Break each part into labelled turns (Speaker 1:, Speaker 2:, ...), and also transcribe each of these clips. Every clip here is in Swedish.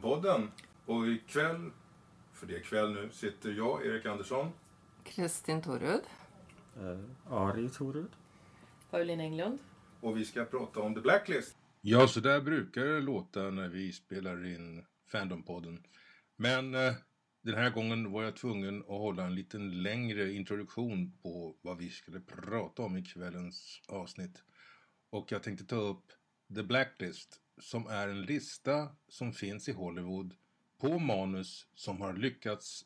Speaker 1: podden. Och ikväll, för det är kväll nu, sitter jag, Erik Andersson.
Speaker 2: Kristin Torud.
Speaker 3: Eh, Ari Torud.
Speaker 4: Pauline Englund.
Speaker 1: Och vi ska prata om The Blacklist.
Speaker 5: Ja, så där brukar det låta när vi spelar in Fandompodden. Men eh, den här gången var jag tvungen att hålla en liten längre introduktion på vad vi skulle prata om i kvällens avsnitt. Och jag tänkte ta upp The Blacklist som är en lista som finns i Hollywood på manus som har lyckats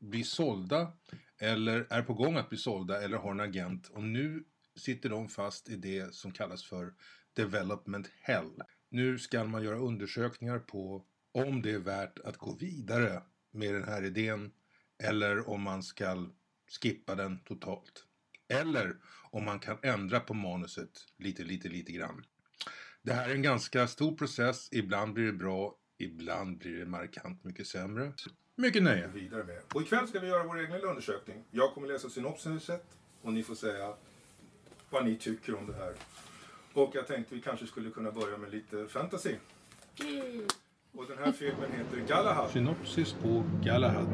Speaker 5: bli sålda eller är på gång att bli sålda eller har en agent och nu sitter de fast i det som kallas för Development Hell. Nu ska man göra undersökningar på om det är värt att gå vidare med den här idén eller om man ska skippa den totalt. Eller om man kan ändra på manuset lite, lite, lite grann. Det här är en ganska stor process. Ibland blir det bra, ibland blir det markant mycket sämre. Mycket nöje!
Speaker 1: Vidare med. Och ikväll ska vi göra vår egen lilla undersökning. Jag kommer läsa synopsiset och ni får säga vad ni tycker om det här. Och jag tänkte vi kanske skulle kunna börja med lite fantasy. Och den här filmen heter Galahad.
Speaker 5: Synopsis på Galahad.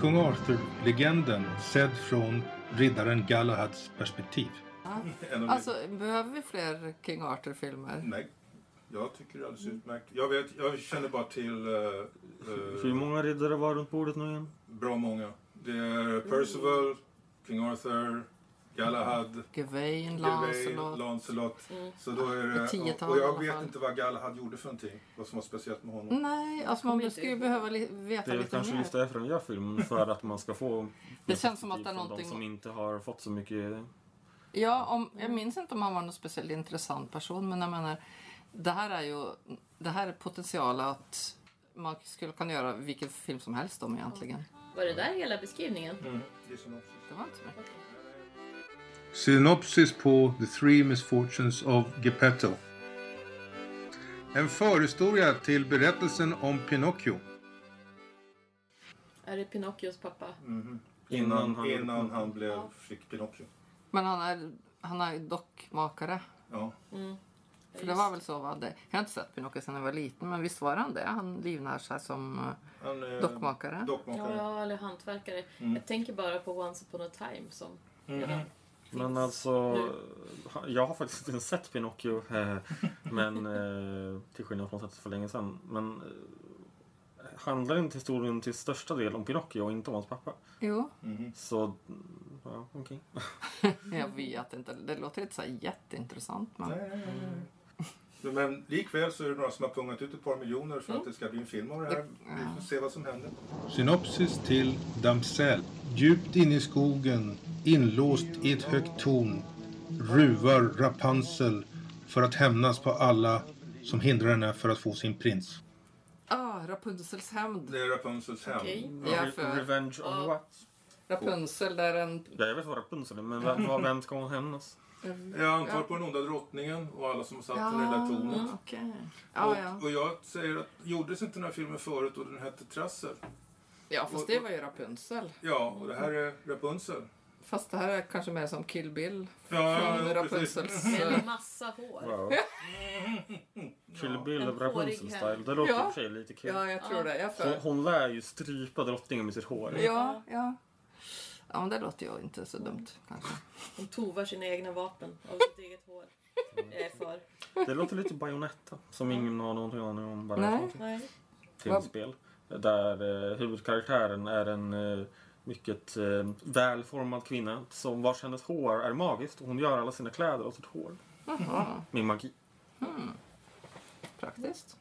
Speaker 5: Kung Arthur-legenden sedd från riddaren Galahads perspektiv.
Speaker 1: En av
Speaker 2: Alltså, behöver vi fler King Arthur-filmer?
Speaker 1: Nej, jag tycker det är alldeles utmärkt. Jag, vet, jag känner bara till eh, eh,
Speaker 3: Hur många riddare var runt bordet nu
Speaker 2: Alltså,
Speaker 3: igen?
Speaker 1: bra många. Det är Percival, King Arthur, Galahad,
Speaker 2: Gawain, Lancelot.
Speaker 1: Lancelot. Lancelot.
Speaker 4: Mm.
Speaker 1: Så då är
Speaker 2: Ett
Speaker 1: det,
Speaker 2: tiotal
Speaker 1: och, och
Speaker 2: i alla
Speaker 1: jag vet
Speaker 2: fall.
Speaker 1: inte vad Galahad gjorde för någonting. Vad som var speciellt med honom.
Speaker 2: Nej, alltså man
Speaker 4: Kommer
Speaker 2: skulle ju
Speaker 4: inte-
Speaker 2: behöva li- veta
Speaker 3: Det är väl
Speaker 2: lite
Speaker 3: kanske
Speaker 2: mer.
Speaker 3: just därför de gör filmen, för att man ska få...
Speaker 2: Det känns som att det är
Speaker 3: från
Speaker 2: någonting-
Speaker 3: De som inte har fått så mycket...
Speaker 2: Ja, om, jag minns inte om han var någon speciellt intressant person, men jag menar, det här är ju det här är potential att man skulle kunna göra vilken film som helst om egentligen.
Speaker 4: Var det där hela beskrivningen?
Speaker 1: Mm. Det är synopsis.
Speaker 2: Det var inte så mycket.
Speaker 5: Synopsis på The Three Misfortunes of Geppetto. En förhistoria till berättelsen om Pinocchio.
Speaker 4: Är det Pinocchios pappa?
Speaker 2: Mm.
Speaker 1: Mhm.
Speaker 3: Innan
Speaker 1: Innan,
Speaker 3: han-
Speaker 1: innan han blev, fick Pinocchio.
Speaker 2: Men han är, han är dockmakare.
Speaker 1: Ja.
Speaker 2: För det var väl så, va? Det, jag har inte sett Pinocchio sedan jag var liten, men visst var han det? Han livnär sig som... eh,
Speaker 1: Han, eh,
Speaker 2: Dockmakare.
Speaker 1: dockmakare.
Speaker 4: Ja, eller hantverkare.
Speaker 2: Mm.
Speaker 4: Jag tänker bara på Once upon a time som
Speaker 1: Mm.
Speaker 4: redan
Speaker 3: Men
Speaker 4: finns.
Speaker 3: alltså...
Speaker 4: Nu.
Speaker 3: Jag har faktiskt inte ens sett Pinocchio. eh, Men... eh, Till skillnad från att jag sett det för länge sedan. Men... eh, Handlar inte historien till största del om Pinocchio och inte om hans pappa?
Speaker 2: Jo,
Speaker 3: Så... mm, Ja, okej.
Speaker 2: jag vet inte. Det låter inte så här jätteintressant, men...
Speaker 1: Nej, nej, nej, nej. Men likväl så är det några som har pungat ut ett par miljoner för att
Speaker 2: Mm.
Speaker 1: det ska bli en film av det här. Vi får se vad som händer.
Speaker 5: Synopsis till Damsell. Djupt inne i skogen, inlåst i ett högt torn, ruvar Rapunzel för att hämnas på alla som hindrar henne för att få sin prins.
Speaker 2: Ah, Rapunzels hämnd.
Speaker 1: Det är Rapunzels hem.
Speaker 4: Okej.
Speaker 2: Ja,
Speaker 3: Re-
Speaker 2: för
Speaker 3: Revenge of what?
Speaker 2: Rapunzel där en...
Speaker 3: Ja, jag vet vad Rapunzel är, men vem, vad- vem ska hon hämnas?
Speaker 1: Jag antar på den onda drottningen och alla som har satt den i det där tornet.
Speaker 2: okej. Ja, ja.
Speaker 1: Och, och jag säger att gjordes inte den här filmen förut och den hette Trassel?
Speaker 2: Ja, fast det var ju Rapunzel.
Speaker 1: Ja, och det här är Rapunzel.
Speaker 2: Fast det här är kanske mer som Kill Bill.
Speaker 1: Ja,
Speaker 2: Från
Speaker 1: ja,
Speaker 2: Rapunzels... eh,
Speaker 4: Med massa hår.
Speaker 3: Wow. Kill Bill
Speaker 4: En
Speaker 3: av Rapunzel
Speaker 4: hårig
Speaker 3: style. Det låter i
Speaker 2: Ja.
Speaker 3: och för sig lite kul.
Speaker 2: Ja, jag tror det. Jag
Speaker 3: Hon,
Speaker 2: för...
Speaker 3: hon lär ju strypa drottningen med sitt hår.
Speaker 2: Ja, ja. Ja, men det låter ju inte så dumt kanske.
Speaker 4: Hon tovar sina egna vapen av sitt eget hår.
Speaker 2: Mm.
Speaker 4: Jag är för.
Speaker 3: Det låter lite Bayonetta som ingen har någonting aning om. Bara
Speaker 2: Nej.
Speaker 3: Nej.
Speaker 4: Nej.
Speaker 3: Filmspel. Där eh, huvudkaraktären är en eh, mycket eh, välformad kvinna som vars hennes hår är magiskt och hon gör alla sina kläder av sitt hår.
Speaker 2: Jaha,
Speaker 3: Med magi.
Speaker 2: praktiskt.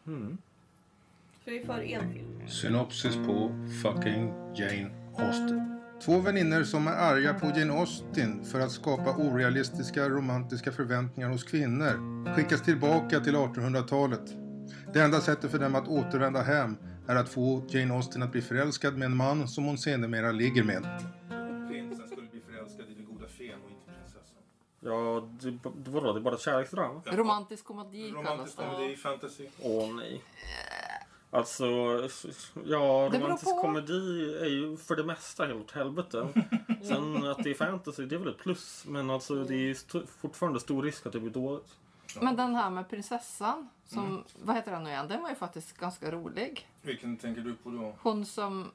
Speaker 4: Så vi får en film.
Speaker 5: Synopsis på fucking Jane Austen. Två vänner som är arga på Jane Austen för att skapa orealistiska romantiska förväntningar hos kvinnor skickas tillbaka till 1800-talet. Det enda sättet för dem att återvända hem är att få Jane Austen att bli förälskad med en man som hon sedermera ligger med.
Speaker 1: Prinsen skulle bli förälskad i den goda fen och inte prinsessan.
Speaker 3: Ja, det, det, vadå? Det är bara ett kärleksdrama?
Speaker 2: Romantisk komedi kallas
Speaker 1: Romantisk
Speaker 2: det.
Speaker 1: komedi, fantasy.
Speaker 3: Åh nej. Alltså, s- s- ja,
Speaker 2: Det beror
Speaker 3: romantisk
Speaker 2: på.
Speaker 3: komedi är ju för det mesta helt åt helvete. Sen att det är fantasy, det är väl ett plus. Men alltså det är ju st- fortfarande stor risk att det blir dåligt.
Speaker 2: Men den här med prinsessan, som,
Speaker 1: Mm.
Speaker 2: vad heter den nu igen? Den var ju faktiskt ganska rolig.
Speaker 1: Vilken tänker du på då?
Speaker 2: Hon som,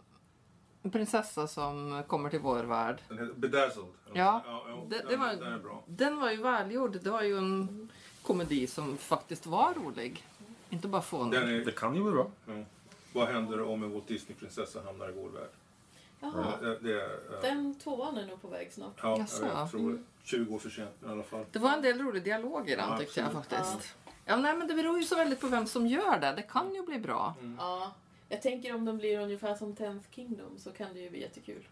Speaker 2: en prinsessa som kommer till vår värld.
Speaker 1: Den heter Bedazzled.
Speaker 2: Ja,
Speaker 1: jo,
Speaker 2: det-
Speaker 1: den,
Speaker 2: det var-
Speaker 1: den är bra.
Speaker 2: Den var ju välgjord. Det var ju en komedi som faktiskt var rolig. Inte bara
Speaker 1: Den
Speaker 2: fånig.
Speaker 3: Det
Speaker 1: är,
Speaker 3: kan ju vara bra.
Speaker 1: ja. Vad händer om en Walt Disney-prinsessa hamnar i vår värld?
Speaker 4: Jaha,
Speaker 1: Det, det är, eh,
Speaker 4: den tvåan är nog på väg snart.
Speaker 1: ja,
Speaker 2: Jaså.
Speaker 1: jag tror det. 20 år för sent i alla fall.
Speaker 2: Det var en del rolig dialog i
Speaker 1: Ja,
Speaker 2: den tyckte jag
Speaker 1: absolut.
Speaker 2: faktiskt. Ja, nej, men det beror ju så väldigt på vem som gör det. Det kan ju bli bra.
Speaker 4: Ja. Jag tänker om den blir ungefär som Tenth Kingdom så kan det ju bli jättekul.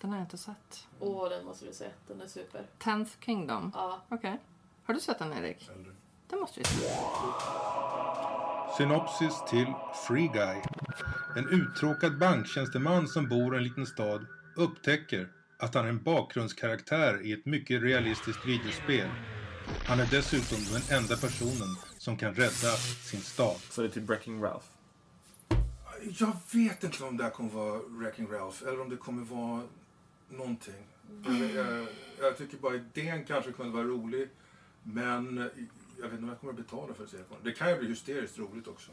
Speaker 2: Den har jag inte sett.
Speaker 4: Åh, den måste du se. Den är super.
Speaker 2: Tenth Kingdom.
Speaker 4: Ja.
Speaker 2: Okej. Har du sett den, Erik?
Speaker 1: Eller-
Speaker 2: Det måste vi se.
Speaker 5: Synopsis till Free Guy. En uttråkad banktjänsteman som bor i en liten stad upptäcker att han är en bakgrundskaraktär i ett mycket realistiskt videospel. Han är dessutom den enda personen som kan rädda sin stad.
Speaker 3: Så det är typ Breaking Ralph.
Speaker 1: Jag vet inte om det här kommer vara Wrecking Ralph eller om det kommer vara någonting. Jag, vet- jag, jag tycker bara idén kanske kunde vara rolig. Men jag vet inte om jag kommer att betala för att se på den. Det kan ju bli hysteriskt roligt också.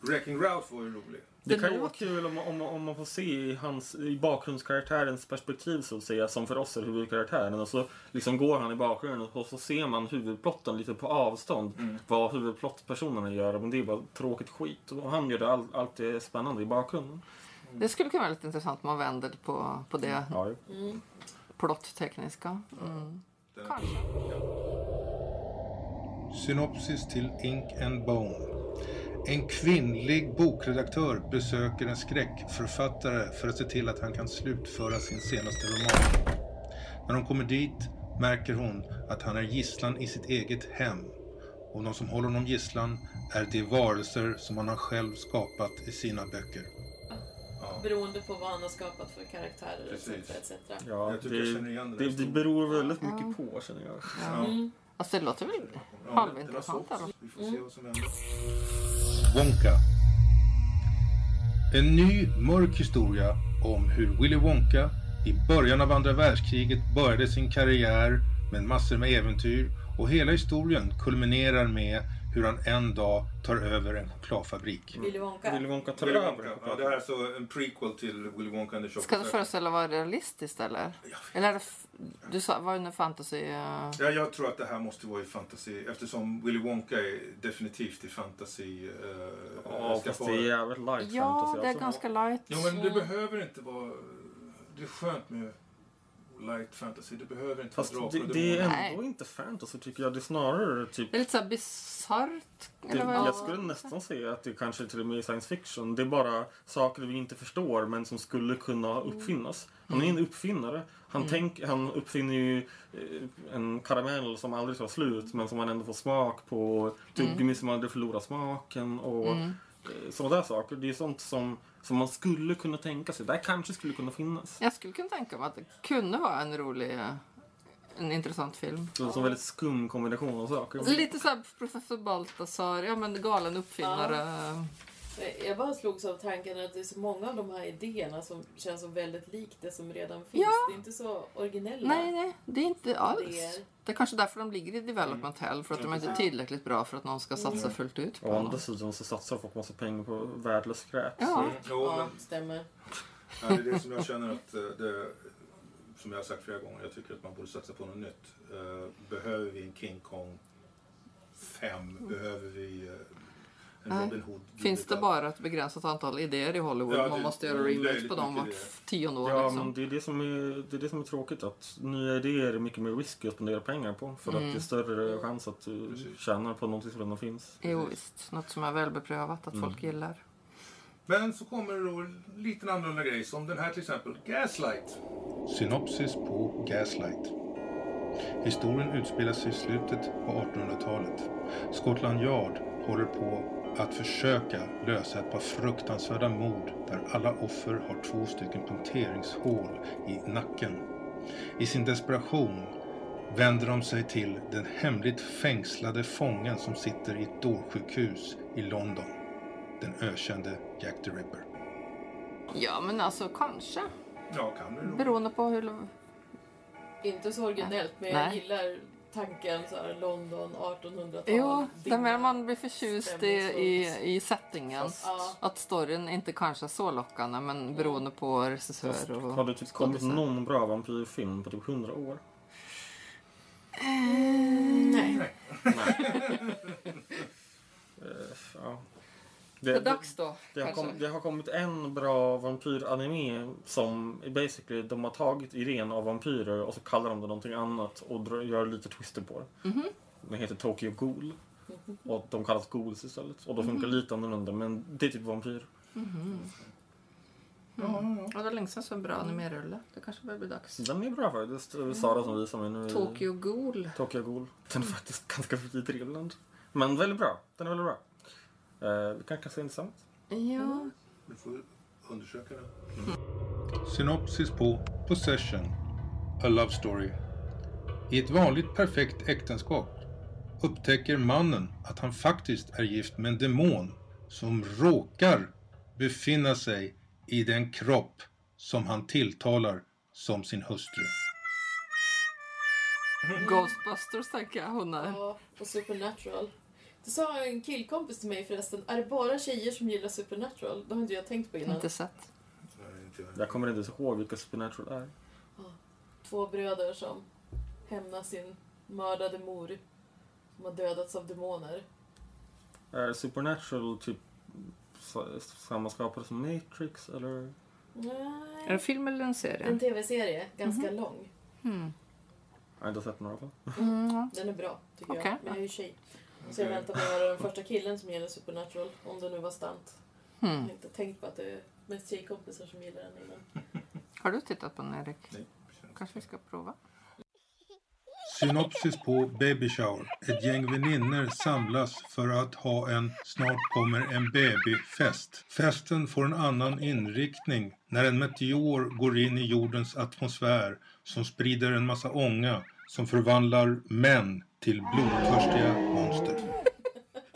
Speaker 1: Wrecking Ralph var ju rolig.
Speaker 3: Det,
Speaker 2: Det
Speaker 3: kan ju vara
Speaker 2: låter-
Speaker 3: kul om, man- om, man- om man får se i, hans, i bakgrundskaraktärens perspektiv så att säga, som för oss är huvudkaraktären. Och så liksom går han i bakgrunden och så ser man huvudplotten lite på avstånd.
Speaker 1: Mm.
Speaker 3: Vad huvudplottpersonerna gör. Men det är bara tråkigt skit. Och han gör det all, alltid spännande i bakgrunden.
Speaker 2: Det skulle kunna vara lite intressant om man vänder på, på det
Speaker 3: Ja, ju.
Speaker 2: plottekniska. Mm.
Speaker 1: Den-
Speaker 2: Kanske.
Speaker 5: Synopsis till Ink and Bone. En kvinnlig bokredaktör besöker en skräckförfattare för att se till att han kan slutföra sin senaste roman. När hon kommer dit märker hon att han är gisslan i sitt eget hem. Och de som håller honom gisslan är de varelser som han har själv skapat i sina böcker.
Speaker 1: Ja.
Speaker 4: Beroende på vad han har skapat för karaktärer etc.
Speaker 1: Precis.
Speaker 4: etc.
Speaker 3: Ja,
Speaker 1: Jag tycker jag
Speaker 3: det,
Speaker 1: känner igen den
Speaker 3: det,
Speaker 1: där
Speaker 3: det
Speaker 1: historien.
Speaker 3: beror väldigt mycket på känner jag.
Speaker 1: Ja.
Speaker 2: Alltså, det låter väl
Speaker 1: Ja,
Speaker 2: halvintressant.
Speaker 1: det var
Speaker 2: eller?
Speaker 1: så. Vi får se vad som händer.
Speaker 5: Wonka. En ny mörk historia om hur Willy Wonka i början av andra världskriget började sin karriär med massor med äventyr och hela historien kulminerar med hur han en dag tar över en chokladfabrik.
Speaker 4: Willy Wonka.
Speaker 3: Willy Wonka tar
Speaker 1: Willy
Speaker 3: över.
Speaker 1: Wonka. Ja, det här är alltså en prequel till Willy Wonka and the Chocolate
Speaker 2: Ska det
Speaker 1: Factory.
Speaker 2: föreställa vara realistiskt eller? Eller är det f- du sa, var det nu fantasy? eh,
Speaker 1: Ja, jag tror att det här måste vara i fantasy eftersom Willy Wonka är definitivt i fantasy. Eh,
Speaker 3: Ja, fast det är
Speaker 1: skaparet.
Speaker 3: jävligt light
Speaker 2: Ja,
Speaker 3: fantasy.
Speaker 2: det är
Speaker 3: alltså.
Speaker 2: ganska light.
Speaker 1: Ja, men det behöver inte vara... Det är skönt med light fantasy. Det behöver inte
Speaker 3: Fast
Speaker 1: vara
Speaker 3: det,
Speaker 1: drakar och
Speaker 3: det är
Speaker 1: demoner.
Speaker 3: ändå
Speaker 2: Nej.
Speaker 3: inte fantasy tycker jag. Det är snarare typ
Speaker 2: Det är lite såhär bisarrt.
Speaker 3: Det,
Speaker 2: eller vad
Speaker 3: jag
Speaker 2: jag-
Speaker 3: skulle nästan säga att det kanske till och med är science fiction. Det är bara saker vi inte förstår men som skulle kunna
Speaker 2: Mm.
Speaker 3: uppfinnas. Han är en uppfinnare. Han, tänk, han uppfinner ju eh, en karamell som aldrig tar slut men som han ändå får smak på. Tuggummi
Speaker 2: Mm.
Speaker 3: som aldrig förlorar smaken och mm. sådana där saker. Det är sånt som, som man skulle kunna tänka sig. Det här kanske skulle kunna finnas.
Speaker 2: Jag skulle kunna tänka mig att det kunde vara en rolig, eh, en intressant film.
Speaker 3: Det är en sån väldigt skum kombination av saker.
Speaker 2: Lite såhär Professor Baltasar, ja men galen uppfinnare. Eh,
Speaker 4: Jag bara slogs av tanken att det är så många av de här idéerna som känns så väldigt likt det som redan finns.
Speaker 2: Ja.
Speaker 4: Det är inte så originella.
Speaker 2: Nej, nej, det är inte alls.
Speaker 4: Det
Speaker 2: Det
Speaker 4: är-
Speaker 2: är, kanske därför de ligger i development hell, för att
Speaker 3: Mm.
Speaker 2: de är inte tillräckligt bra för att någon ska satsa fullt ut på
Speaker 3: Å andra
Speaker 2: dem.
Speaker 3: sidan så satsar folk massa pengar på värdelös skräp.
Speaker 2: Ja,
Speaker 1: Jo, men
Speaker 4: Ja, stämmer.
Speaker 1: Ja, det är det som jag känner att eh, det, som jag har sagt flera gånger, jag tycker att man borde satsa på något nytt. Eh, Behöver vi en King Kong 5? Behöver vi eh, en
Speaker 2: Mm. Nej.
Speaker 1: Robin Hood?
Speaker 2: finns det bara ett begränsat antal idéer i Hollywood?
Speaker 1: Ja, det-
Speaker 2: Man måste göra
Speaker 1: det är
Speaker 2: remakes
Speaker 1: lite
Speaker 2: på dem
Speaker 1: mycket
Speaker 2: vart
Speaker 1: idéer.
Speaker 2: tionde år.
Speaker 3: Ja,
Speaker 2: liksom.
Speaker 3: men det är det, som är, det är det som är tråkigt. Att nya idéer är mycket mer risky att spendera pengar på. För
Speaker 2: Mm.
Speaker 3: att det är större chans att du
Speaker 1: Precis.
Speaker 3: tjänar på någonting som redan finns.
Speaker 2: Jo, visst. Något som är välbeprövat, att folk gillar.
Speaker 1: Men så kommer det då en liten annorlunda grej, som den här till exempel, Gaslight.
Speaker 5: Synopsis på Gaslight. Historien utspelar sig i slutet på 1800-talet. Scotland Yard håller på att försöka lösa ett par fruktansvärda mord där alla offer har två stycken punkteringshål i nacken. I sin desperation vänder de sig till den hemligt fängslade fången som sitter i ett dårsjukhus i London. Den ökände Jack the Ripper.
Speaker 2: Ja, men alltså kanske.
Speaker 1: Ja, kan det då.
Speaker 2: Beroende på hur...
Speaker 4: Inte så originellt, men jag
Speaker 2: Nej.
Speaker 4: gillar tanken så här London 1800-tal.
Speaker 2: Jo, det
Speaker 4: dimma.
Speaker 2: mer man blir förtjust i, i, i settingen.
Speaker 4: Ja.
Speaker 2: Att storyn inte kanske är så lockande, men beroende på
Speaker 3: Fast
Speaker 2: regissör och...
Speaker 3: har det typ kommit
Speaker 2: skådisar.
Speaker 3: någon bra vampyrfilm på typ 100 år?
Speaker 4: Nej.
Speaker 3: Eh, ja.
Speaker 2: Det
Speaker 3: Det,
Speaker 2: är dags då,
Speaker 3: det, har
Speaker 2: kanske.
Speaker 3: kommit, det har kommit en bra vampyranime som basically de har tagit idén av vampyrer och så kallar de det någonting annat och drar- gör lite twister på det.
Speaker 2: Mhm.
Speaker 3: Den heter Tokyo Ghoul. Och de kallas Ghouls istället. Och då funkar
Speaker 2: Mhm.
Speaker 3: lite annorlunda men det är typ vampyr.
Speaker 2: Ja, det längtas en bra animerulle. Det kanske börjar bli dags.
Speaker 3: Den är bra faktiskt. Det är Sara som visar mig nu. i-
Speaker 2: Tokyo Ghoul.
Speaker 3: Tokyo Ghoul. Den är faktiskt ganska fri i Trevland. Men väldigt bra. Den är väldigt bra. Eh, det kanske är intressant.
Speaker 2: Ja.
Speaker 1: Vi får undersöka det.
Speaker 5: Synopsis på Possession, A Love Story. I ett vanligt perfekt äktenskap upptäcker mannen att han faktiskt är gift med en demon som råkar befinna sig i den kropp som han tilltalar som sin hustru.
Speaker 2: Ghostbusters tänker jag. Hon är.
Speaker 4: Ja, och Supernatural. Det sa en killkompis till mig förresten. Är det bara tjejer som gillar Supernatural? Det har inte jag tänkt på innan.
Speaker 2: Inte sett.
Speaker 1: Nej, inte jag.
Speaker 3: Jag kommer inte ens ihåg vilka Supernatural är.
Speaker 4: Två bröder som hämnar sin mördade mor. Som har dödats av demoner.
Speaker 3: Är Supernatural typ sa- samma skapare som Matrix eller?
Speaker 2: Är det en
Speaker 4: Nej.
Speaker 2: film eller en
Speaker 4: En
Speaker 2: serie?
Speaker 4: tv-serie, ganska
Speaker 2: Mhm.
Speaker 4: lång.
Speaker 3: Jag har inte sett några av dem.
Speaker 4: Den är bra, tycker
Speaker 2: Okej.
Speaker 4: jag. Men jag är ju tjej. Så jag
Speaker 1: Okej.
Speaker 4: väntar på att höra den första killen som gillar Supernatural. Om det nu var stant. Jag
Speaker 2: Hmm.
Speaker 4: har inte tänkt på att det är mest tjejkompisar som gillar den innan.
Speaker 2: Har du tittat på den, Erik?
Speaker 1: Nej.
Speaker 2: Kanske vi ska prova?
Speaker 5: Synopsis på Baby Shower. Ett gäng väninnor samlas för att ha en snart kommer en babyfest. Festen får en annan inriktning när en meteor går in i jordens atmosfär som sprider en massa ånga som förvandlar män till blodtörstiga monster.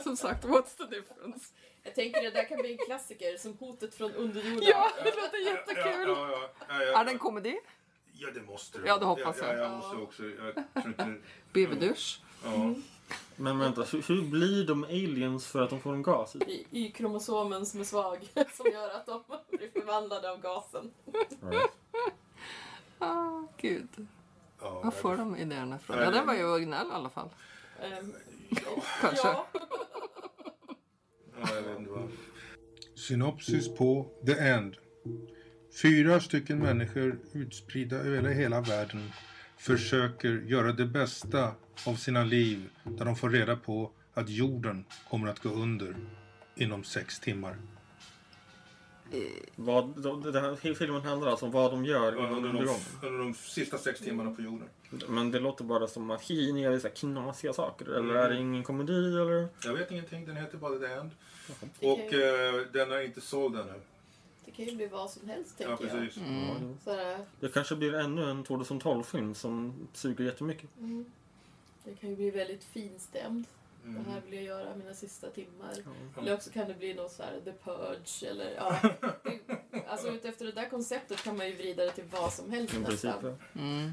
Speaker 2: Som sagt, what's the difference?
Speaker 4: Jag tänker det där kan bli en klassiker som hotet från underjorden.
Speaker 2: Ja, det låter
Speaker 1: Ja,
Speaker 2: jättekul!
Speaker 1: ja, ja, ja, ja,
Speaker 2: Är det en komedi?
Speaker 1: ja, det måste
Speaker 2: Ja, det hoppas
Speaker 1: jag.
Speaker 2: jag.
Speaker 1: Ja, jag måste också. Jag tror inte...
Speaker 2: BB-dusch?
Speaker 1: Ja.
Speaker 3: Men vänta, hur, hur blir de aliens för att de får en gas? i?
Speaker 4: I- Y-kromosomen som är svag som gör att de blir förvandlade av gasen.
Speaker 2: Ah, gud.
Speaker 1: Ja,
Speaker 2: Var får de idéerna ifrån? Ja, den var ju originell i alla fall.
Speaker 4: Ehm,
Speaker 2: Kanske.
Speaker 4: ja,
Speaker 1: ja, jag vet inte vad.
Speaker 5: Synopsis på The End. Fyra stycken människor utspridda över hela världen försöker göra det bästa av sina liv när de får reda på att jorden kommer att gå under inom sex timmar.
Speaker 3: Vad, de, det här, hela filmen handlar alltså om vad de gör innan
Speaker 1: Under
Speaker 3: de
Speaker 1: de,
Speaker 3: blir om.
Speaker 1: under de sista sex timmarna på jorden.
Speaker 3: Men det låter bara som att hi, ni gör så här knasiga saker. Eller är det ingen komedi eller?
Speaker 1: Jag vet ingenting, den heter bara The End. Och eh, den är inte såld ännu.
Speaker 4: det kan ju bli vad som helst
Speaker 1: Ja,
Speaker 4: tänker jag.
Speaker 1: precis.
Speaker 2: Mm.
Speaker 3: Ja, jo.
Speaker 4: Så här,
Speaker 3: Det kanske blir ännu en 2012-film som suger jättemycket.
Speaker 4: mm. det kan ju bli väldigt finstämd.
Speaker 1: Mm.
Speaker 4: Det här vill jag göra mina sista timmar.
Speaker 3: Ja.
Speaker 4: Eller också kan det bli något så här The Purge eller ja. Det- Alltså utefter det där konceptet kan man ju vrida det till vad som helst
Speaker 3: I princip,
Speaker 4: nästan.
Speaker 3: ja.
Speaker 2: Mm.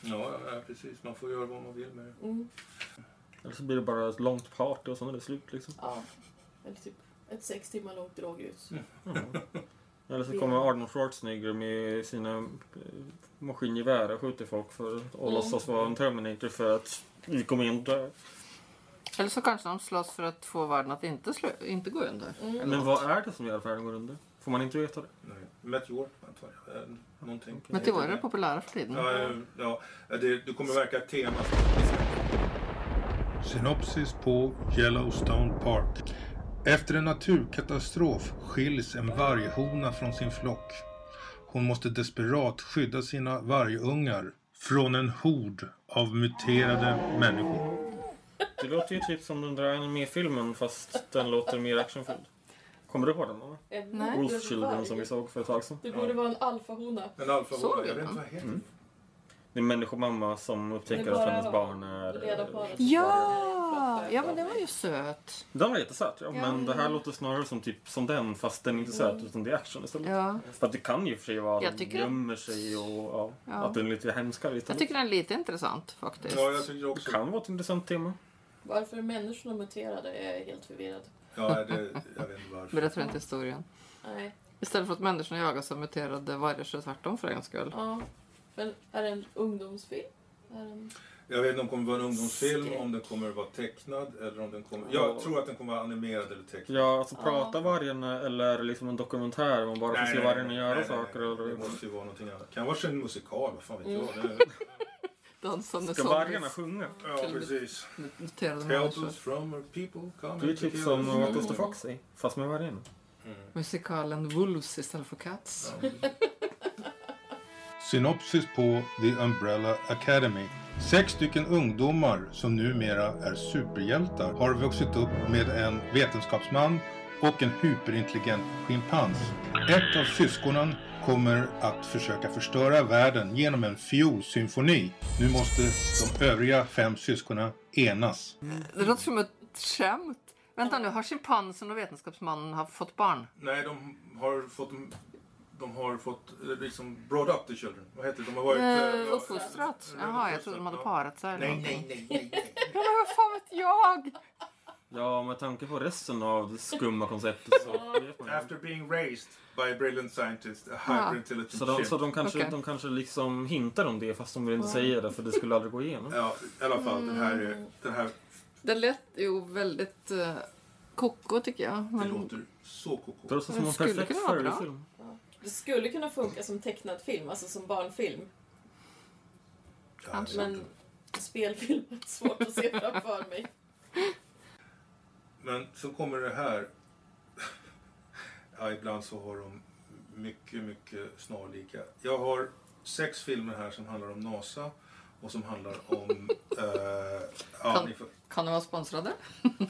Speaker 1: Ja, ja, precis. Man får göra vad man vill med det.
Speaker 4: Mm,
Speaker 3: Eller så blir det bara ett långt party och sen är det slut liksom.
Speaker 4: ja. Eller typ ett sex timmar långt drogrus.
Speaker 3: Mm. Eller så kommer Arnold Schwarzenegger med sina eh, maskingevär och skjuter folk för att och låtsas vara en Terminator för att vi kommer in där.
Speaker 2: Eller så kanske de slåss för att få världen att inte, slö- inte gå under. Eller
Speaker 3: Men
Speaker 2: något.
Speaker 3: vad är det som gör att världen går under? Får man inte veta det?
Speaker 1: Nej. Meteor, antar jag. Eh, Någonting.
Speaker 2: Meteorer Mm. är populära för tiden.
Speaker 1: Ja, eh, ja. Det, det kommer verka tema.
Speaker 5: Synopsis på Yellowstone Park. Efter en naturkatastrof skiljs en varghona från sin flock. Hon måste desperat skydda sina vargungar från en hord av muterade människor.
Speaker 3: Det låter ju typ som den där anime-filmen fast den låter mer actionfylld. Kommer du ihåg den? Anna?
Speaker 4: En
Speaker 2: Nej.
Speaker 3: Wolf
Speaker 4: varg.
Speaker 3: Children som vi såg för ett tag sedan.
Speaker 4: Det borde vara en alfahona.
Speaker 1: En alfahona.
Speaker 2: Såg vi
Speaker 1: Jag vet
Speaker 2: den? Mm.
Speaker 1: inte vad heter.
Speaker 3: Det är en människomamma som
Speaker 4: Det
Speaker 3: upptäcker
Speaker 4: är
Speaker 3: att
Speaker 4: bara
Speaker 3: hennes barn är... eh,
Speaker 4: reda på alla
Speaker 2: Ja! Ja, men det var ju söt.
Speaker 3: Den var jättesöt, ja,
Speaker 2: Ja,
Speaker 3: men
Speaker 2: ja,
Speaker 3: det här
Speaker 2: ja.
Speaker 3: låter snarare som, typ, som den fast den är inte söt utan det är action istället.
Speaker 2: Ja.
Speaker 3: För att det kan ju i och för sig vara att
Speaker 2: Jag
Speaker 3: de
Speaker 2: tycker-
Speaker 3: gömmer sig och ja,
Speaker 2: Ja.
Speaker 3: att den är lite hemskare
Speaker 2: Jag
Speaker 3: istället.
Speaker 2: tycker den är lite intressant faktiskt.
Speaker 1: Ja, jag tycker
Speaker 3: Det
Speaker 1: också...
Speaker 3: kan vara ett intressant tema.
Speaker 4: Varför människorna muterade är jag helt förvirrad.
Speaker 1: Ja, det, jag vet inte varför.
Speaker 2: Berättar inte historien.
Speaker 4: Nej.
Speaker 2: Istället för att människorna jagas så muterade varelser tvärtom för en gångs skull.
Speaker 4: Ja. Men är det en ungdomsfilm? Är det en...
Speaker 1: Jag vet inte om det kommer vara en ungdomsfilm, om den kommer att vara tecknad eller om den kommer... Jag tror att den kommer att vara animerad eller tecknad.
Speaker 3: Ja, alltså
Speaker 4: Ja.
Speaker 3: prata vargarna eller liksom en dokumentär där man bara får se vargarna göra saker.
Speaker 1: nej. Det
Speaker 3: Eller...
Speaker 1: måste ju vara någonting annat. Kan vara en musikal, vad fan vet jag.
Speaker 2: Mm.
Speaker 1: Det-
Speaker 2: Dansande
Speaker 3: Ska vargarna sjunga?
Speaker 1: Ja, precis.
Speaker 2: muterade
Speaker 1: Help
Speaker 2: människor.
Speaker 1: us from our people coming
Speaker 3: Det är
Speaker 1: to
Speaker 3: typ
Speaker 1: kill
Speaker 3: som
Speaker 1: us.
Speaker 3: What does the fox say? Fast med vargarna.
Speaker 2: Musikalen Wolves istället för Cats.
Speaker 5: Synopsis på The Umbrella Academy. Sex stycken ungdomar som numera är superhjältar har vuxit upp med en vetenskapsman och en hyperintelligent schimpans. Ett av syskonen kommer att försöka förstöra världen genom en fiolsymfoni. Nu måste de övriga fem syskonen enas.
Speaker 2: Det låter som ett skämt. Vänta nu, har schimpansen och vetenskapsmannen haft- fått barn?
Speaker 1: Nej, de har fått... De har fått eh, liksom brought up the children. Vad heter det? De har varit...
Speaker 2: Eh,
Speaker 1: eh,
Speaker 2: Uppfostrat?
Speaker 1: ja,
Speaker 2: Jaha, jag trodde de hade
Speaker 1: ja.
Speaker 2: parat sig. eller
Speaker 1: Nej,
Speaker 2: någonting.
Speaker 1: nej, nej, nej. nej.
Speaker 2: Ja, men vad fan vet jag?
Speaker 3: Ja, med tanke på resten av det skumma konceptet så vet man ju.
Speaker 1: After being raised by a brilliant scientist, a
Speaker 2: Ja.
Speaker 1: hyperintelligent
Speaker 3: Så de,
Speaker 1: chimp.
Speaker 3: så de kanske,
Speaker 2: Okej.
Speaker 3: de kanske liksom hintar om det fast de vill inte säga det för det skulle aldrig gå igenom.
Speaker 1: Ja, i alla fall den här... eh, Den här
Speaker 2: Det lät ju väldigt eh, koko tycker jag.
Speaker 1: det
Speaker 2: Men
Speaker 1: låter så
Speaker 3: Det
Speaker 1: koko.
Speaker 3: låter
Speaker 2: Men
Speaker 3: som en
Speaker 2: skulle
Speaker 3: perfekt
Speaker 2: kunna vara bra.
Speaker 3: furry-film.
Speaker 4: Det skulle kunna funka som tecknad film, alltså som barnfilm.
Speaker 1: Ja, jag vet
Speaker 4: Men-
Speaker 1: inte.
Speaker 4: Spelfilm är svårt att se framför mig.
Speaker 1: Men så kommer det här. Ja, ibland så har de mycket, mycket snarlika. Jag har sex filmer här som handlar om NASA och som handlar om... eh, ja,
Speaker 2: Kan-
Speaker 1: ni får,
Speaker 2: Kan de vara sponsrade?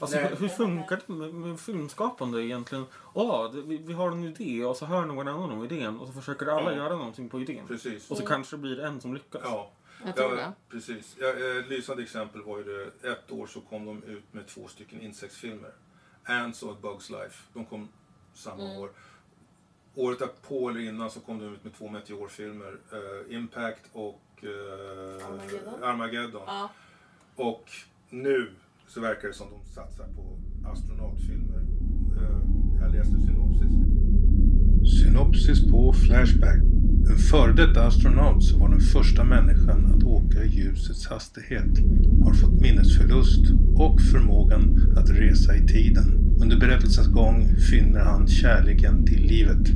Speaker 3: Alltså,
Speaker 1: Nej.
Speaker 3: hur funkar det med, med filmskapande egentligen? Ja, det- vi, vi har en idé och så hör någon annan om idén och så försöker alla
Speaker 1: Ja.
Speaker 3: göra någonting på idén.
Speaker 1: precis.
Speaker 3: Och så kanske det blir en som lyckas.
Speaker 1: Ja,
Speaker 2: Jag tror
Speaker 1: ja,
Speaker 2: det.
Speaker 1: precis. Ja, eh, ett lysande exempel var ju det. Ett år så kom de ut med två stycken insektsfilmer. Ants och A Bugs Life. De kom samma
Speaker 4: Mm.
Speaker 1: år. Året därpå eller innan så kom de ut med två meteorfilmer. Eh, Impact och eh,
Speaker 4: Armageddon.
Speaker 1: Armageddon.
Speaker 4: Ja.
Speaker 1: Och nu så verkar det som de satsar på astronautfilmer. Eh, jag läste synopsis.
Speaker 5: Synopsis på Flashback. En före detta astronaut som var den första människan att åka i ljusets hastighet har fått minnesförlust och förmågan att resa i tiden. Under berättelsens gång finner han kärleken till livet.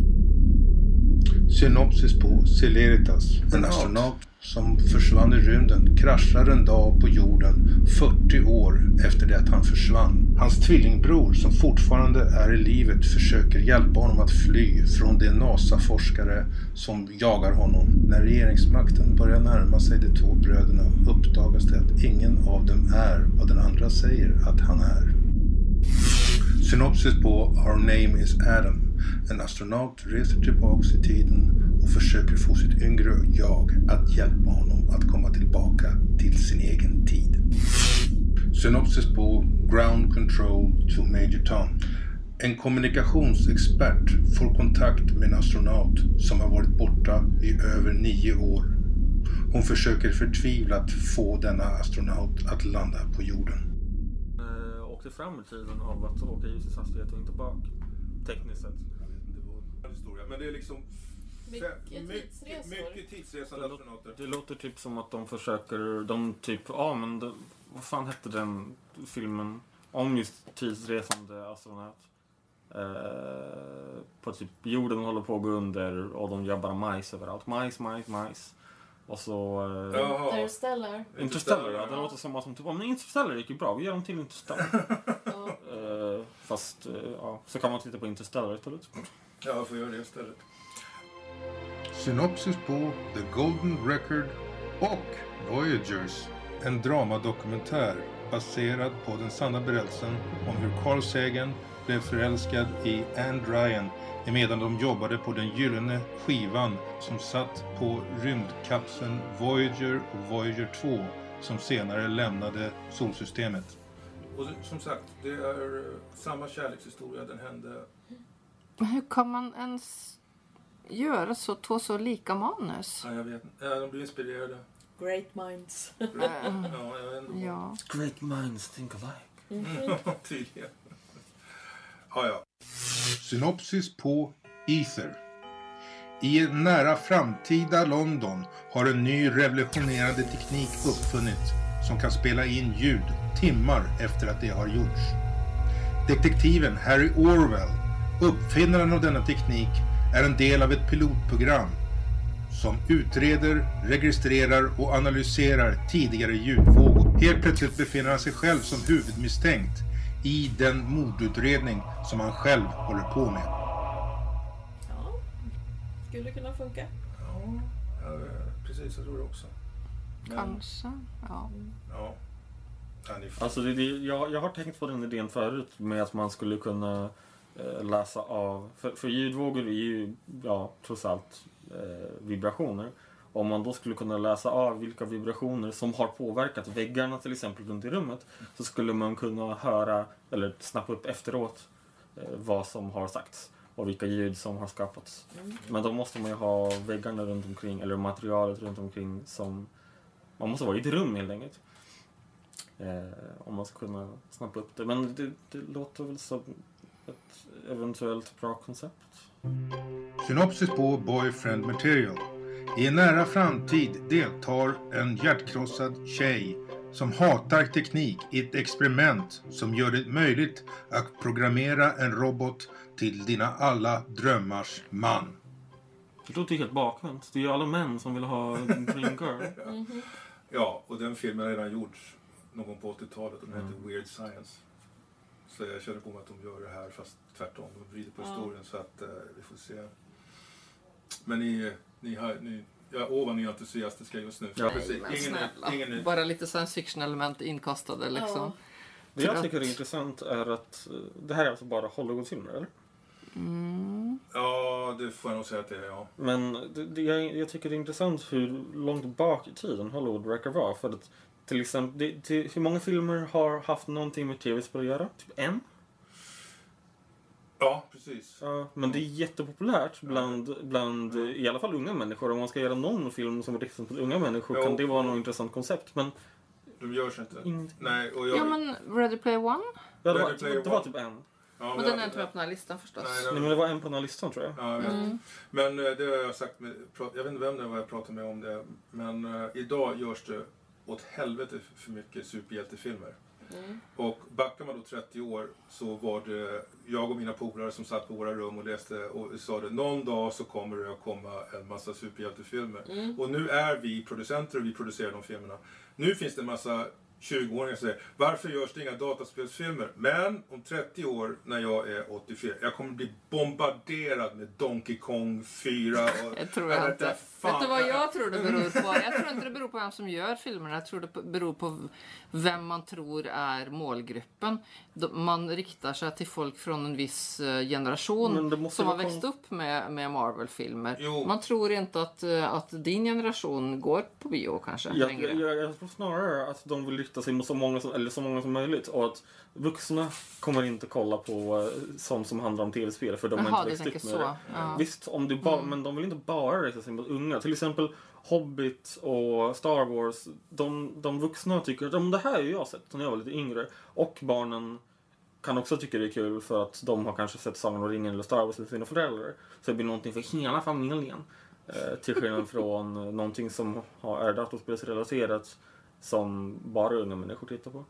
Speaker 5: Synopsis på Celeritas. En astronaut som försvann i rymden kraschar en dag på jorden 40 år efter det att han försvann. Hans tvillingbror som fortfarande är i livet försöker hjälpa honom att fly från de NASA-forskare som jagar honom. När regeringsmakten börjar närma sig de två bröderna uppdagas det att ingen av dem är vad den andra säger att han är. Synopsis på Our Name Is Adam. En astronaut reser tillbaks i tiden och försöker få sitt yngre jag att hjälpa honom att komma tillbaka till sin egen tid. Synopsis på Ground Control to Major Tom. En kommunikationsexpert får kontakt med en astronaut som har varit borta i över nio år. Hon försöker förtvivlat få denna astronaut att landa på jorden.
Speaker 3: Eh, åkte fram i tiden av att åka i ljusets hastighet och inte bak. Tekniskt sett.
Speaker 1: Det var en historia. Men det är liksom...
Speaker 4: Mycket
Speaker 1: mycket,
Speaker 4: tidsresor.
Speaker 1: mycket tidsresande astronauter.
Speaker 3: Det låter typ som att de försöker, de typ, ja men det, vad fan hette den filmen om just tidsresande astronaut? Eh, på typ jorden håller på att gå under och de gör bara majs överallt. Majs, majs, majs. Och så... Eh,
Speaker 1: Jaha.
Speaker 4: Interstellar.
Speaker 3: Interstellar, ja. Det låter som att de typ, om Interstellar gick ju bra, vi gör dem till Interstellar.
Speaker 4: Ja.
Speaker 3: eh, fast, eh, ja, så kan man titta på Interstellar istället.
Speaker 1: Ja, jag får göra det istället.
Speaker 5: Synopsis på The Golden Record och Voyagers. En dramadokumentär baserad på den sanna berättelsen om hur Carl Sagan blev förälskad i Anne Ryan medan de jobbade på den gyllene skivan som satt på rymdkapseln Voyager och Voyager 2 som senare lämnade solsystemet.
Speaker 1: Och det- som sagt, det är eh, samma kärlekshistoria. Den hände...
Speaker 2: Men hur kan man ens göra så, två så lika manus?
Speaker 1: Ja, jag vet inte. Ja, De blev inspirerade.
Speaker 4: Great minds.
Speaker 1: Ja, jag vet inte.
Speaker 2: Mm. Ja.
Speaker 3: Great minds think alike.
Speaker 1: Tydligen. Ja, ja.
Speaker 5: Synopsis på Ether. I en nära framtida London har en ny revolutionerande teknik uppfunnits som kan spela in ljud timmar efter att det har gjorts. Detektiven Harry Orwell, uppfinnaren av denna teknik, är en del av ett pilotprogram som utreder, registrerar och analyserar tidigare ljudvågor. Helt plötsligt befinner han sig själv som huvudmisstänkt i den mordutredning som han själv håller på med.
Speaker 4: Ja, skulle kunna funka.
Speaker 1: ja jag vet- precis, jag tror det också. Men,
Speaker 2: Kanske. Ja.
Speaker 1: Ja. Ja, ni får-
Speaker 3: Alltså det, det, jag, jag har tänkt på den idén förut med att man skulle kunna eh, läsa av... För, för ljudvågor är ju ja, trots allt eh, vibrationer. Om man då skulle kunna läsa av vilka vibrationer som har påverkat väggarna till exempel runt i rummet så skulle man kunna höra eller snappa upp efteråt eh, vad som har sagts och vilka ljud som har skapats. Men då måste man ju ha väggarna runt omkring eller materialet runt omkring som... Man måste vara i ett rum helt enkelt. Eh, om man ska kunna snappa upp det. Men det, det låter väl som ett eventuellt bra koncept.
Speaker 5: Synopsis på Boyfriend Material. I en nära framtid deltar en hjärtkrossad tjej som hatar teknik i ett experiment som gör det möjligt att programmera en robot till dina alla drömmars man.
Speaker 3: Det låter ju helt bakvänt. Det är ju alla män som vill ha en Dream Girl.
Speaker 4: Mhm.
Speaker 1: ja, och den filmen har redan gjorts någon gång på 80-talet och den heter Weird Science. Så jag känner på mig att de gör det här fast tvärtom. De vrider på
Speaker 4: Ja.
Speaker 1: historien så att eh, vi får se. Men ni, ni, har, ni ja, åh vad ni är entusiastiska just nu.
Speaker 3: Ja. Nej,
Speaker 1: precis.
Speaker 2: Men
Speaker 1: Ingen,
Speaker 2: snälla.
Speaker 1: ingen, ingen,
Speaker 2: Bara lite science fiction-element inkastade liksom.
Speaker 3: Det jag tycker är intressant är att eh, det här är alltså bara Hollywoodfilmer, eller?
Speaker 1: Ja, det får jag nog säga att det är. Ja.
Speaker 3: Men det, det, jag, jag tycker det är intressant hur långt bak i tiden Hollywood verkar vara. För att till exempel, det, till, hur många filmer har haft någonting med tv-spel att göra? Typ en?
Speaker 1: ja, precis.
Speaker 3: Ja, men det är jättepopulärt bland, bland eh, i alla fall unga människor. Om man ska göra någon film som riktas mot unga människor
Speaker 1: Jo.
Speaker 3: kan det vara något intressant koncept. Men
Speaker 1: De görs inte.
Speaker 3: in,
Speaker 1: Nej, och jag...
Speaker 2: Ja men Ready Player One?
Speaker 3: ja, det,
Speaker 1: Ready
Speaker 3: var,
Speaker 1: Player
Speaker 3: det var
Speaker 1: One.
Speaker 3: typ en.
Speaker 1: ja,
Speaker 2: Men den är inte med på den här listan förstås. Mm.
Speaker 1: Nej,
Speaker 3: Nej, men det var en på den här listan tror jag.
Speaker 1: Ja, jag vet. Men eh, det har jag sagt, med, prat- jag vet inte vem det var jag pratade med om det, men eh, idag görs det åt helvete f- för mycket superhjältefilmer.
Speaker 2: Mm.
Speaker 1: Och backar man då 30 år så var det jag och mina polare som satt på våra rum och läste och sa det någon dag så kommer det att komma en massa superhjältefilmer.
Speaker 2: Mm.
Speaker 1: Och nu är vi producenter och vi producerar de filmerna. Nu finns det en massa 20-åringar som säger varför görs det inga dataspelsfilmer? Men om 30 år när jag är 84, jag kommer bli bombarderad med Donkey Kong 4 och...
Speaker 2: Det tror jag inte.
Speaker 1: vet fan.
Speaker 2: Vet du vad jag tror det beror på? Jag tror inte det beror på vem som gör filmerna. Jag tror det beror på vem man tror är målgruppen. De- Man riktar sig till folk från en viss eh,
Speaker 3: Men det
Speaker 2: generation
Speaker 3: måste
Speaker 2: som har
Speaker 3: vara
Speaker 2: växt upp med, med Marvel-filmer.
Speaker 1: Jo.
Speaker 2: Man tror inte att, eh, att din generation går på bio kanske
Speaker 3: Jag,
Speaker 2: längre.
Speaker 3: jag, jag, jag tror snarare att de vill rikta sig mot så många som, eller så många som möjligt och att vuxna kommer inte kolla på eh, sånt som handlar om tv-spel för de har
Speaker 2: Jaha,
Speaker 3: inte
Speaker 2: du
Speaker 3: växt upp
Speaker 2: tänker
Speaker 3: med
Speaker 2: så.
Speaker 3: det.
Speaker 2: Ja.
Speaker 3: Visst, om det bara, men de vill inte bara rikta sig mot unga. Till exempel Hobbit och Star Wars. De, de vuxna tycker att "Ja, men det här har jag sett när jag var lite yngre. Och barnen kan också tycka det är kul för att de har kanske sett Sagan om ringen eller Star Wars med sina föräldrar. Så det blir någonting för hela familjen. Eh, till skillnad från eh, någonting som har, är datorspelsrelaterat som bara unga människor tittar på.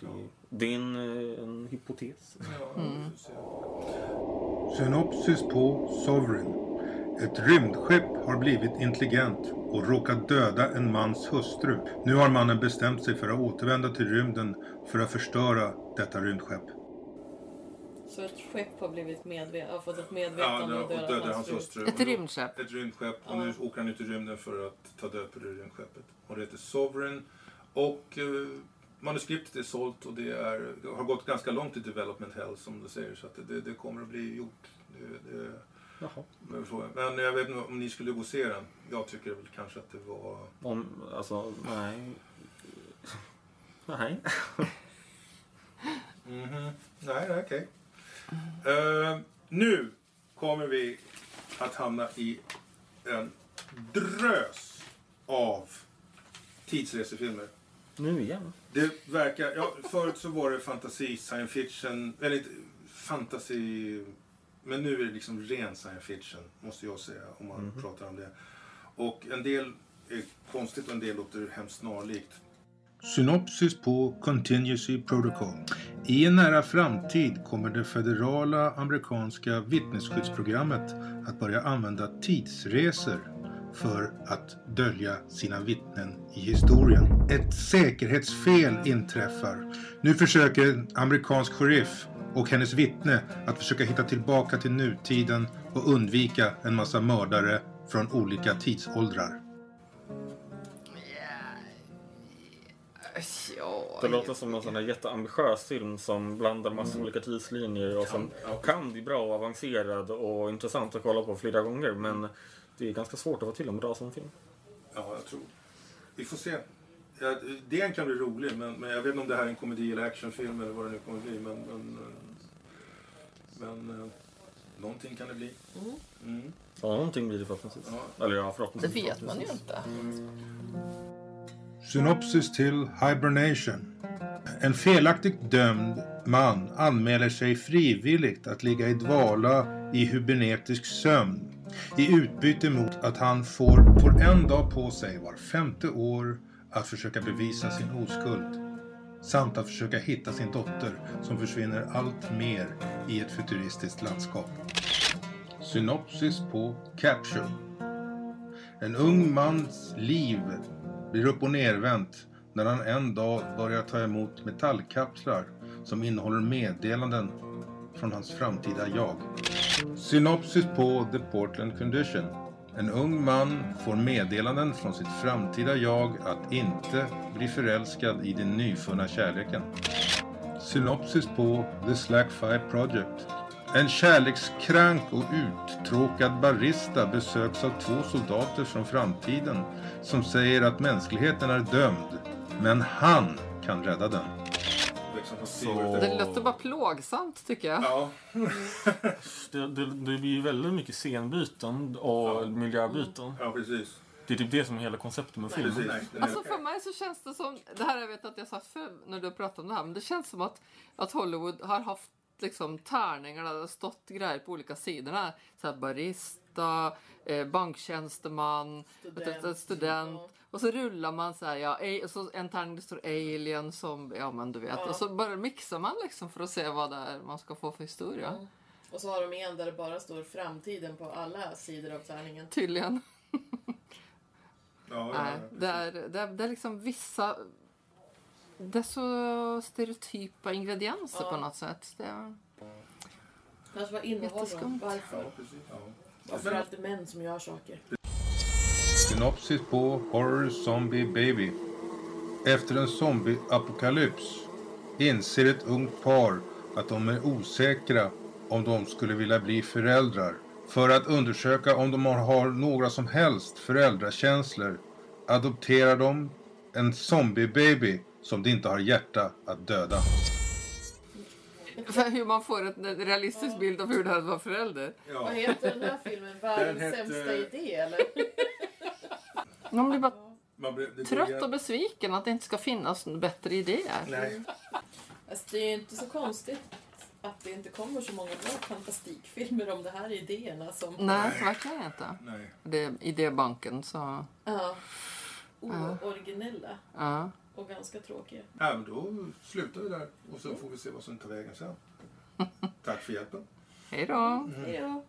Speaker 3: Det, det är en, eh, en hypotes.
Speaker 1: Ja,
Speaker 2: Mm.
Speaker 1: vi får se.
Speaker 5: Synopsis på Sovereign. Ett rymdskepp har blivit intelligent och råkat döda en mans hustru. Nu har mannen bestämt sig för att återvända till rymden för att förstöra detta rymdskepp.
Speaker 4: Så ett skepp har blivit medvet- har fått ett
Speaker 1: Ja,
Speaker 4: medvetande
Speaker 1: och dödade hans hustru.
Speaker 2: Ett
Speaker 1: Och nu-
Speaker 2: rymdskepp.
Speaker 1: Ett rymdskepp. Och nu åker han ut i rymden för att ta död på det rymdskeppet. Och det heter Sovereign. Och eh, manuskriptet är sålt och det, är, det har gått ganska långt i development hell som du säger. Så att det, det kommer att bli gjort. Det, det,
Speaker 3: Jaha.
Speaker 1: men frågan- men jag vet inte om ni skulle gå och se den. Jag tycker väl kanske att det var...
Speaker 3: Om, alltså, nej. Nej.
Speaker 1: Mhm. Nej, nej, okej. Eh, nu kommer vi att hamna i en drös av tidsresefilmer.
Speaker 3: Nu igen.
Speaker 1: Det verkar... Ja, förut så var det fantasy, science fiction, eller inte, fantasy... Men nu är det liksom ren science fiction, måste jag säga, om man
Speaker 3: Mhm.
Speaker 1: pratar om det. Och en del är konstigt och en del låter hemskt snarlikt.
Speaker 5: Synopsis på Contingency Protocol. I en nära framtid kommer det federala amerikanska vittnesskyddsprogrammet att börja använda tidsresor för att dölja sina vittnen i historien. Ett säkerhetsfel inträffar. Nu försöker en amerikansk sheriff och hennes vittne att försöka hitta tillbaka till nutiden och undvika en massa mördare från olika tidsåldrar.
Speaker 2: Ja,
Speaker 3: Det låter som en sån här jätteambitiös film som blandar massa olika tidslinjer och som kan bli bra och avancerad och intressant att kolla på flera gånger. Men det är ganska svårt att få till en bra sån film.
Speaker 1: Ja, jag tror. Vi får se. Ja, den kan bli rolig, men, men jag vet inte om det här är en komedi eller actionfilm eller vad det nu kommer bli. Men, men, eh, men eh, någonting kan det bli. Mm.
Speaker 3: Ja, någonting blir det förhoppningsvis.
Speaker 1: Ja.
Speaker 3: Eller ja,
Speaker 2: det
Speaker 3: förhoppningsvis.
Speaker 2: vet man ju inte.
Speaker 5: Synopsis till Hibernation. En felaktigt dömd man anmäler sig frivilligt att ligga i dvala i hybernetisk sömn i utbyte mot att han får, får en dag på sig var femte år att försöka bevisa sin oskuld samt att försöka hitta sin dotter som försvinner allt mer i ett futuristiskt landskap. Synopsis på Caption. En ung mans liv blir upp och nervänt när han en dag börjar ta emot metallkapslar som innehåller meddelanden från hans framtida jag. Synopsis på The Portland Condition. En ung man får meddelanden från sitt framtida jag att inte bli förälskad i den nyfunna kärleken. Synopsis på The Slack Fire Project. En kärlekskrank och uttråkad barista besöks av två soldater från framtiden som säger att mänskligheten är dömd, men han kan rädda den.
Speaker 1: Liksom från
Speaker 3: Så-
Speaker 1: Seaworth.
Speaker 2: Det låter bara plågsamt tycker jag.
Speaker 1: Ja,
Speaker 3: Det, det, det blir ju väldigt mycket scenbyten och miljöbyten.
Speaker 1: ja, precis.
Speaker 3: Det är typ det som är hela konceptet med filmen.
Speaker 1: precis. Nej, den är
Speaker 2: Alltså
Speaker 1: okej.
Speaker 2: för mig så känns det som, det här jag vet att jag sagt förr när du pratade om det här, men det känns som att, att Hollywood har haft liksom tärningar där det har stått grejer på olika sidorna. Så här barista, eh, banktjänsteman,
Speaker 4: Student.
Speaker 2: student. student.
Speaker 4: Ja.
Speaker 2: Och så rullar man så här, ja, a- och så en tärning det står alien som, ja men du vet.
Speaker 4: Ja.
Speaker 2: Och så bara mixar man liksom för att se vad det är man ska få för historia.
Speaker 4: Och så har de en där det bara står framtiden på alla sidor av tärningen.
Speaker 2: Tydligen.
Speaker 1: Ja, ja,
Speaker 2: Nej, det är, det, är, det är liksom vissa... Det är så stereotypa ingredienser
Speaker 4: Ja.
Speaker 2: på något sätt. Det är,
Speaker 4: Kanske vad innehåller de?
Speaker 2: Jätteskumt.
Speaker 1: ja,
Speaker 4: Varför?
Speaker 1: precis. Ja.
Speaker 4: Varför är det alltid män som gör saker?
Speaker 5: Synopsis på Horror Zombie Baby. Efter en zombieapokalyps inser ett ungt par att de är osäkra om de skulle vilja bli föräldrar. För att undersöka om de har- har några som helst föräldrakänslor adopterar de en zombiebaby som de inte har hjärta att döda.
Speaker 2: för hur man får en realistisk bild av hur det är att vara förälder.
Speaker 4: Vad
Speaker 1: Ja.
Speaker 4: heter den här filmen? Världens
Speaker 1: Den heter-
Speaker 4: sämsta idé eller?
Speaker 2: Man blir bara
Speaker 1: Man blir, det
Speaker 2: trött
Speaker 1: börjar-
Speaker 2: och besviken att det inte ska finnas bättre idéer.
Speaker 1: Nej,
Speaker 4: Alltså, det är ju inte så konstigt att det inte kommer så många bra fantastikfilmer om det här är idéerna som...
Speaker 2: Nej, verkligen inte.
Speaker 1: nej.
Speaker 2: Det är idébanken, så...
Speaker 4: Ja. Ooriginella
Speaker 2: Ja.
Speaker 4: och ganska tråkiga.
Speaker 1: Ja, men då slutar vi där och så får vi se vad som tar vägen sen. Tack för hjälpen.
Speaker 2: Hej då!
Speaker 4: Hej då.